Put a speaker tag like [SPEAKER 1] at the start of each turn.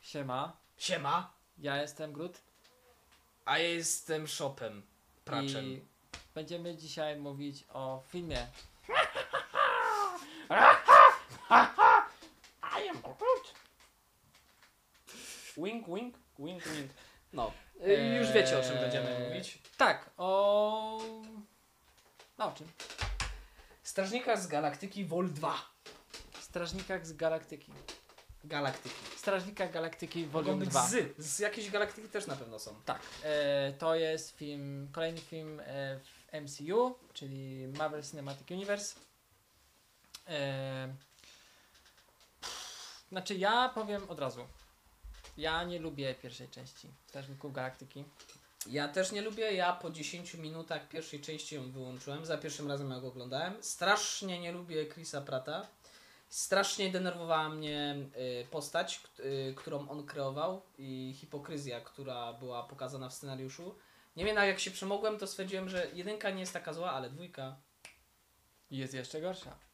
[SPEAKER 1] Siema,
[SPEAKER 2] Siema,
[SPEAKER 1] ja jestem Grut
[SPEAKER 2] a ja jestem Shopem. Praczem.
[SPEAKER 1] i będziemy dzisiaj mówić o filmie.
[SPEAKER 3] I am Groot. Wink, wink, wink, wink. No,
[SPEAKER 1] Eee,
[SPEAKER 3] y, już wiecie o czym będziemy mówić.
[SPEAKER 1] Tak, o... No o czym?
[SPEAKER 2] Strażnika z Galaktyki Vol 2.
[SPEAKER 1] Strażnikach z Galaktyki.
[SPEAKER 2] Galaktyki.
[SPEAKER 1] Strażnika Galaktyki
[SPEAKER 2] Mogą
[SPEAKER 1] Volume
[SPEAKER 2] być
[SPEAKER 1] 2.
[SPEAKER 2] z. Z jakiejś galaktyki też na pewno są.
[SPEAKER 1] Tak, e, to jest film, kolejny film e, w MCU, czyli Marvel Cinematic Universe. E, znaczy, ja powiem od razu. Ja nie lubię pierwszej części Strażników Galaktyki.
[SPEAKER 2] Ja też nie lubię, ja po 10 minutach pierwszej części ją wyłączyłem, za pierwszym razem jak oglądałem. Strasznie nie lubię Chrisa Prata. Strasznie denerwowała mnie y, postać, k- y, którą on kreował i hipokryzja, która była pokazana w scenariuszu. Nie wiem, jak się przemogłem, to stwierdziłem, że jedynka nie jest taka zła, ale dwójka
[SPEAKER 1] Jest jeszcze gorsza.